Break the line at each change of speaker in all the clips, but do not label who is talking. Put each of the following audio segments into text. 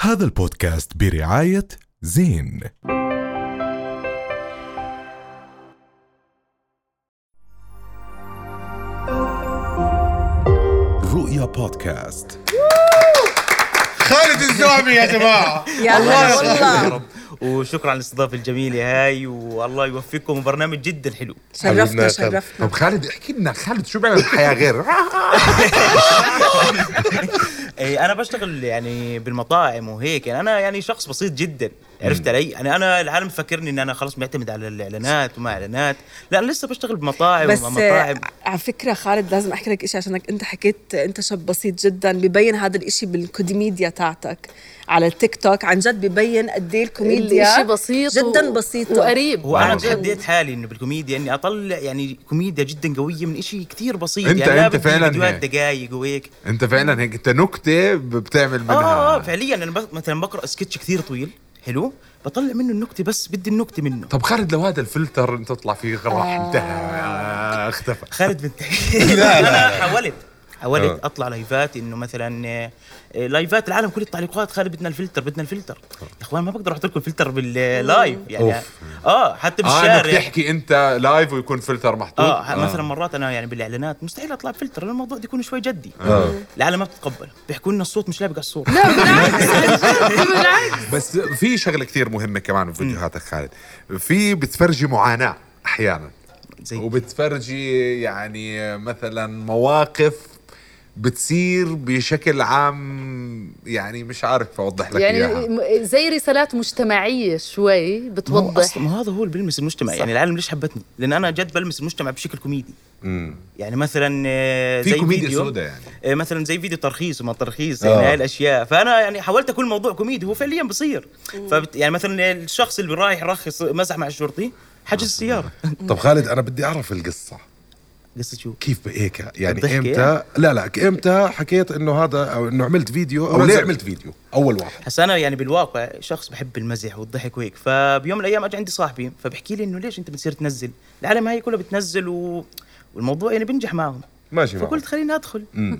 هذا البودكاست برعاية زين رؤيا بودكاست
خالد الزعبي يا جماعه
يا
الله
هلا
يا
والله
رب وشكرا على الاستضافه الجميله هاي والله يوفقكم برنامج جدا حلو
شرفتنا شرفتنا
طب خالد احكي لنا خالد شو بيعمل الحياه غير
إيه انا بشتغل يعني بالمطاعم وهيك يعني انا يعني شخص بسيط جدا عرفت علي؟ يعني انا العالم فاكرني ان انا خلاص معتمد على الاعلانات وما اعلانات لا انا لسه بشتغل
طيب،
بمطاعم
بس
ومع مطاعم
آه، على فكره خالد لازم احكي لك شيء عشانك انت حكيت انت شاب بسيط جدا ببين هذا الشيء بالكوميديا تاعتك على التيك توك عن جد ببين قد ايه
الاشي
الكوميديا
بسيط
جداً بسيطة.
وقريب
وانا
عن جد.
تحديت حالي انه بالكوميديا اني اطلع يعني كوميديا جدا قويه من شيء كثير بسيط
أنت-
يعني لا
أنت
بدي
فعلاً
فيديوهات
هيك.
دقائق وهيك
انت فعلا هيك انت نكته بتعمل منها
اه اه فعليا انا بس- مثلا بقرا سكتش كثير طويل حلو بطلع منه النكته بس بدي النكته منه
طب خالد لو هذا الفلتر انت تطلع فيه راح انتهى آه، اختفى
خالد بنت لا آه. انا حاولت حاولت اطلع لايفات انه مثلا آه، آه، لايفات العالم كل التعليقات خالد بدنا الفلتر بدنا الفلتر يا اخوان ما بقدر احط لكم فلتر باللايف يعني
أوف.
اه حتى
اه انك
بالشارع
تحكي انت لايف ويكون فلتر محطوط
اه ح- مثلا مرات انا يعني بالاعلانات مستحيل اطلع بفلتر لأن الموضوع بده يكون شوي جدي العالم ما بتتقبل بيحكوا لنا الصوت مش لابق على الصوره
لا بالعكس عن جد، بالعكس
بس في شغله كثير مهمه كمان في فيديوهاتك خالد في بتفرجي معاناه احيانا طيب.
زي
وبتفرجي يعني مثلا مواقف بتصير بشكل عام يعني مش عارف اوضح لك
يعني
اياها
م- زي رسالات مجتمعيه شوي
ما هو
بتوضح
اصلا ما هذا هو اللي بلمس المجتمع يعني العالم ليش حبتني؟ لان انا جد بلمس المجتمع بشكل كوميدي يعني مثلا آه،
في
زي
كوميديا
فيديو-
سوداء يعني.
آه، مثلا زي فيديو ترخيص وما ترخيص
آه.
يعني هاي الاشياء فانا يعني حاولت اكون موضوع كوميدي هو فعليا بصير فبت يعني مثلا الشخص اللي رايح يرخص مزح مع الشرطي حجز السياره
طب خالد انا بدي اعرف القصه
قصه شو
كيف هيك يعني
الضحكة
امتى لا لا امتى حكيت انه هذا او انه عملت فيديو او ليه
ونزل.
عملت فيديو اول واحد
هسا انا يعني بالواقع شخص بحب المزح والضحك وهيك فبيوم من الايام اجى عندي صاحبي فبحكي لي انه ليش انت بتصير تنزل العالم هاي كلها بتنزل و... والموضوع يعني بنجح معهم
ماشي معه.
فقلت خليني ادخل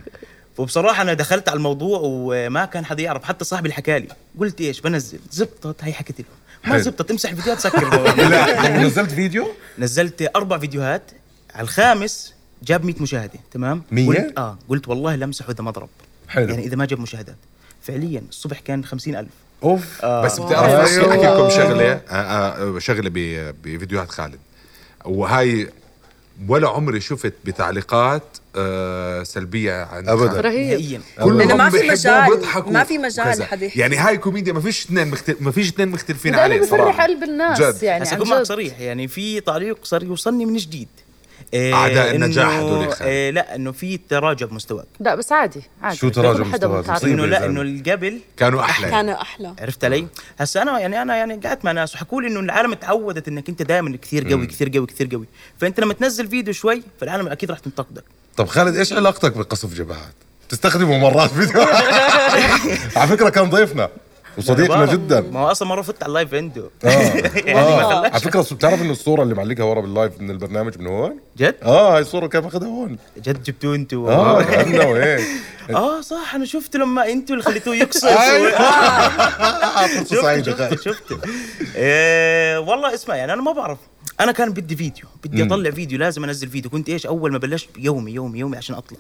وبصراحة أنا دخلت على الموضوع وما كان حدا يعرف حتى صاحبي اللي حكى لي قلت إيش بنزل زبطت هي حكيت له ما
حلو.
زبطت امسح الفيديوهات سكر الموضوع.
لا يعني نزلت فيديو
نزلت أربع فيديوهات على الخامس جاب 100 مشاهدة تمام
مية؟
قلت آه قلت والله لمسح إذا ما ضرب
حلو.
يعني إذا ما جاب مشاهدات فعليا الصبح كان 50000 ألف
اوف
بس
آه.
بتعرف
واو.
بس احكي لكم شغله آه، آه، شغله ب- بفيديوهات خالد وهاي ولا عمري شفت بتعليقات آه، سلبيه عن
أبداً.
خالد.
رهيب
نهائيا
كلهم
لأنه ما في
بيحبوه
مجال-
وبيضحكوا
ما في مجال
وكذا.
حد يحكي.
يعني هاي كوميديا ما فيش اثنين مختلف ما فيش اثنين مختلفين
ده انا
عليه
بفرح
صراحه
قلب الناس
جد.
يعني
هسا
عن
اكون معك
جد
صريح يعني في تعليق صار يوصلني من جديد إيه،
أعداء
إنه-
النجاح هدول يا خالد.
إيه، لا انه في تراجع بمستواك
لا بس عادي عادي
شو تراجع
كل حدا
مستوى
متعاطف.
المصيبة؟
انه لا
زلمة.
انه القبل
كانوا احلى
كانوا احلى
عرفت علي؟ هسا انا يعني انا يعني قعدت مع ناس وحكوا لي انه العالم تعودت انك انت دائما كثير قوي كثير قوي كثير قوي، فانت لما تنزل فيديو شوي فالعالم اكيد راح تنتقدك.
طب خالد ايش علاقتك بقصف جبهات تستخدمه مرات فيديو على فكره كان ضيفنا وصديقنا
أنا بعرف.
جدا
يعني ما هو اصلا ما رفضت على اللايف عنده.
اه,
يعني ما
آه.
خلاش
على فكره بتعرف انه الصوره اللي معلقها ورا باللايف من البرنامج من هون
جد؟
اه هاي الصوره كان اخذها هون
جد جبتوه انتوا
اه
اه
عنا وهيك
اه صح انا شفت لما انتوا اللي خليتوه يقصص
فرصه سعيده خالد
شفت شفت إيه والله اسمع يعني انا ما بعرف انا كان بدي فيديو بدي اطلع فيديو لازم انزل فيديو كنت ايش اول ما بلشت يومي يومي يومي عشان اطلع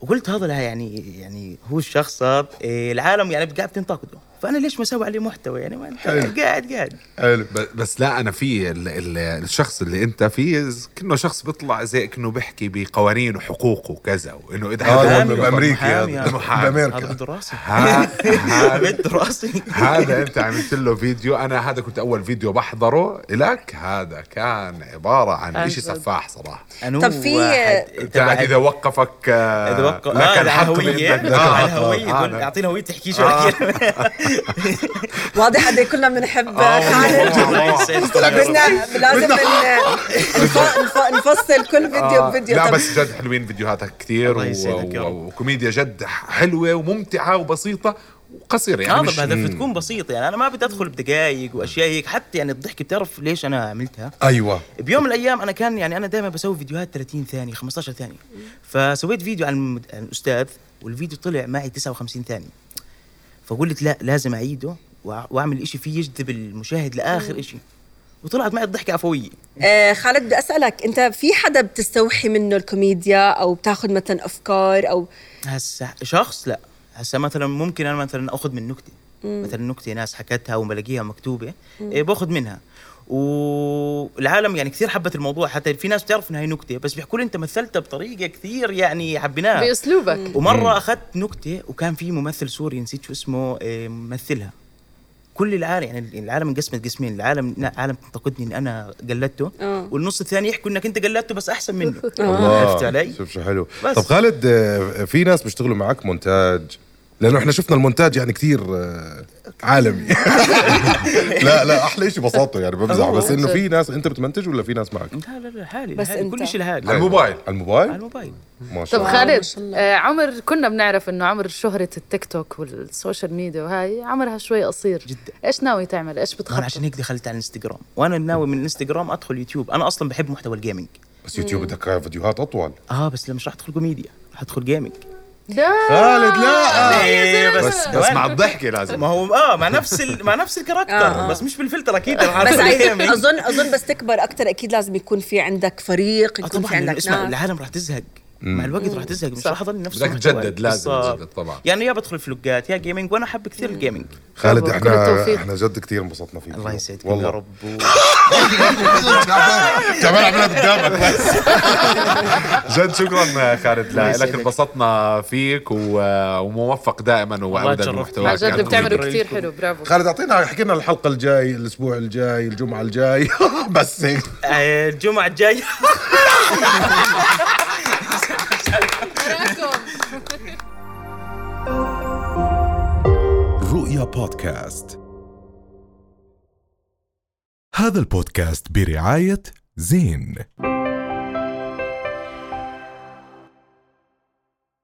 وقلت هذا لا يعني يعني هو الشخص هذا إيه العالم يعني قاعد تنتقده فانا ليش ما اسوي عليه محتوى يعني ما أنت قاعد قاعد
حلو ب- بس لا انا في ال- ال- الشخص اللي انت فيه ز- كأنه شخص بيطلع زي كأنه بيحكي بقوانين وحقوقه وكذا وانه اذا
هذا
محامي.
حدا-
بامريكي
محامي
هذا
هذا.
بامريكا
هذا بده راسي
ها- هذا-
بده راسي
هذا انت عملت له فيديو انا هذا كنت اول فيديو بحضره لك هذا كان عباره عن
عن
إشي
جد.
سفاح صراحه
أنا
طب في-
واحد
يعني
تبع-
اذا وقفك آه،
اذا وقع
لك
لا على
الحق
الهويه
بإنك-
لا،
آه،
على
آه،
الهويه
آه،
يقول
آه.
اعطينا هويتي احكي شو احكي
واضح قد إيه كلنا بنحب
آه،
خالد بدنا لازم ن- نف- نف- نفصل كل فيديو بفيديو
آه، لا
طب
بس جد حلوين فيديوهاتك كثير
الله يسعدك يا
و-
رب.
و- وكوميديا جد حلوه وممتعه وبسيطه وقصيره يعني مش
هذا هدف تكون بسيطة يعني أنا ما بدي أدخل بدقايق وأشياء هيك حتى يعني الضحك بتعرف ليش أنا عملتها
ايوه
أيوة.
بيوم من الأيام أنا كان يعني أنا دائما بسوي فيديوهات 30 ثانية 15 ثانية فسويت فيديو عن المد- عن الأستاذ والفيديو طلع معي 59 ثانية فقلت لا لازم اعيده وأع- واعمل إشي فيه يجذب المشاهد لاخر إشي وطلعت معي الضحكه عفويه
آه خالد بدي اسالك انت في حدا بتستوحي منه الكوميديا او بتاخذ مثلا افكار او
هسه شخص لا هسه مثلا ممكن انا مثلا اخذ من نكته مثلا نكته ناس حكتها وبلاقيها مكتوبه إيه باخذ منها والعالم يعني كثير حبت الموضوع حتى في ناس بتعرف انها هي نكته بس بيحكوا لي انت مثلتها بطريقه كثير يعني حبيناها
باسلوبك
ومره اخذت نكته وكان في ممثل سوري نسيت شو اسمه إيه، ممثلها كل العالم يعني العالم انقسمت قسمين العالم لا، عالم تنتقدني ان انا قلدته
آه.
والنص الثاني يحكوا انك انت قلدته بس احسن منه آه، عرفت علي؟
شوف شو حلو
بس.
طب خالد آه، في ناس بيشتغلوا معك مونتاج لانه احنا شفنا المونتاج يعني كثير آه، عالمي لا لا احلى شيء بساطته يعني بمزح بس انه في ناس انت بتمنتج ولا في ناس معك
لا لا لا حالي
بس
بس حالي.
أنت.
كل شيء لحالي
على الموبايل
على الموبايل
على الموبايل
ما شاء
طب
الله
ما
خالد
شاء الله.
آه عمر كنا بنعرف انه عمر شهرة التيك توك والسوشيال ميديا وهاي عمرها شوي قصير
جدا.
ايش ناوي تعمل؟ ايش
ما انا عشان
بتخطط؟
هيك دخلت على الانستغرام وانا ناوي من الانستغرام ادخل يوتيوب انا اصلا بحب محتوى الجيمنج
بس يوتيوب بدك فيديوهات اطول
اه بس لا مش راح ادخل كوميديا راح ادخل جيمنج
لا
خالد
آه.
لا
بس
بس مع الضحكه
ما
لازم
هو اه مع نفس ال... مع نفس الكاركتر
آه.
بس مش بالفلتر اكيد راح
بس
أدخل
عايز
جيمنج.
اظن اظن بس تكبر اكثر اكيد لازم يكون في عندك فريق
آه
يكون في
طبعا لأنه
عندك
اسمع
ناس
العالم راح تزهق مع الوقت راح تزهق مش
صح.
راح اضل نفس
بدك
المحتوى.
تجدد لازم
بالظبط.
تجدد طبعا
يعني يا بدخل فلوجات يا جيمنج وانا احب كثير الجيمنج
خالد
برافو، كل
احنا
التوفيق.
احنا جد كثير انبسطنا فيك
الله يسعدكم يا
والله
رب و...
تعبان عملها قدامك بس
جد شكرا خالد
الله
لك
يسعدك.
انبسطنا فيك و- آه، وموفق دائما وابدا
تشرفت.
محتواك
عن جد
يعني
بتعملوا
كوميدي.
كثير حلو برافو
خالد اعطينا حكينا الحلقه الجاي الاسبوع الجاي الجمعه الجاي بس هيك
آه، الجمعه الجايه
رؤيا بودكاست هذا البودكاست برعاية زين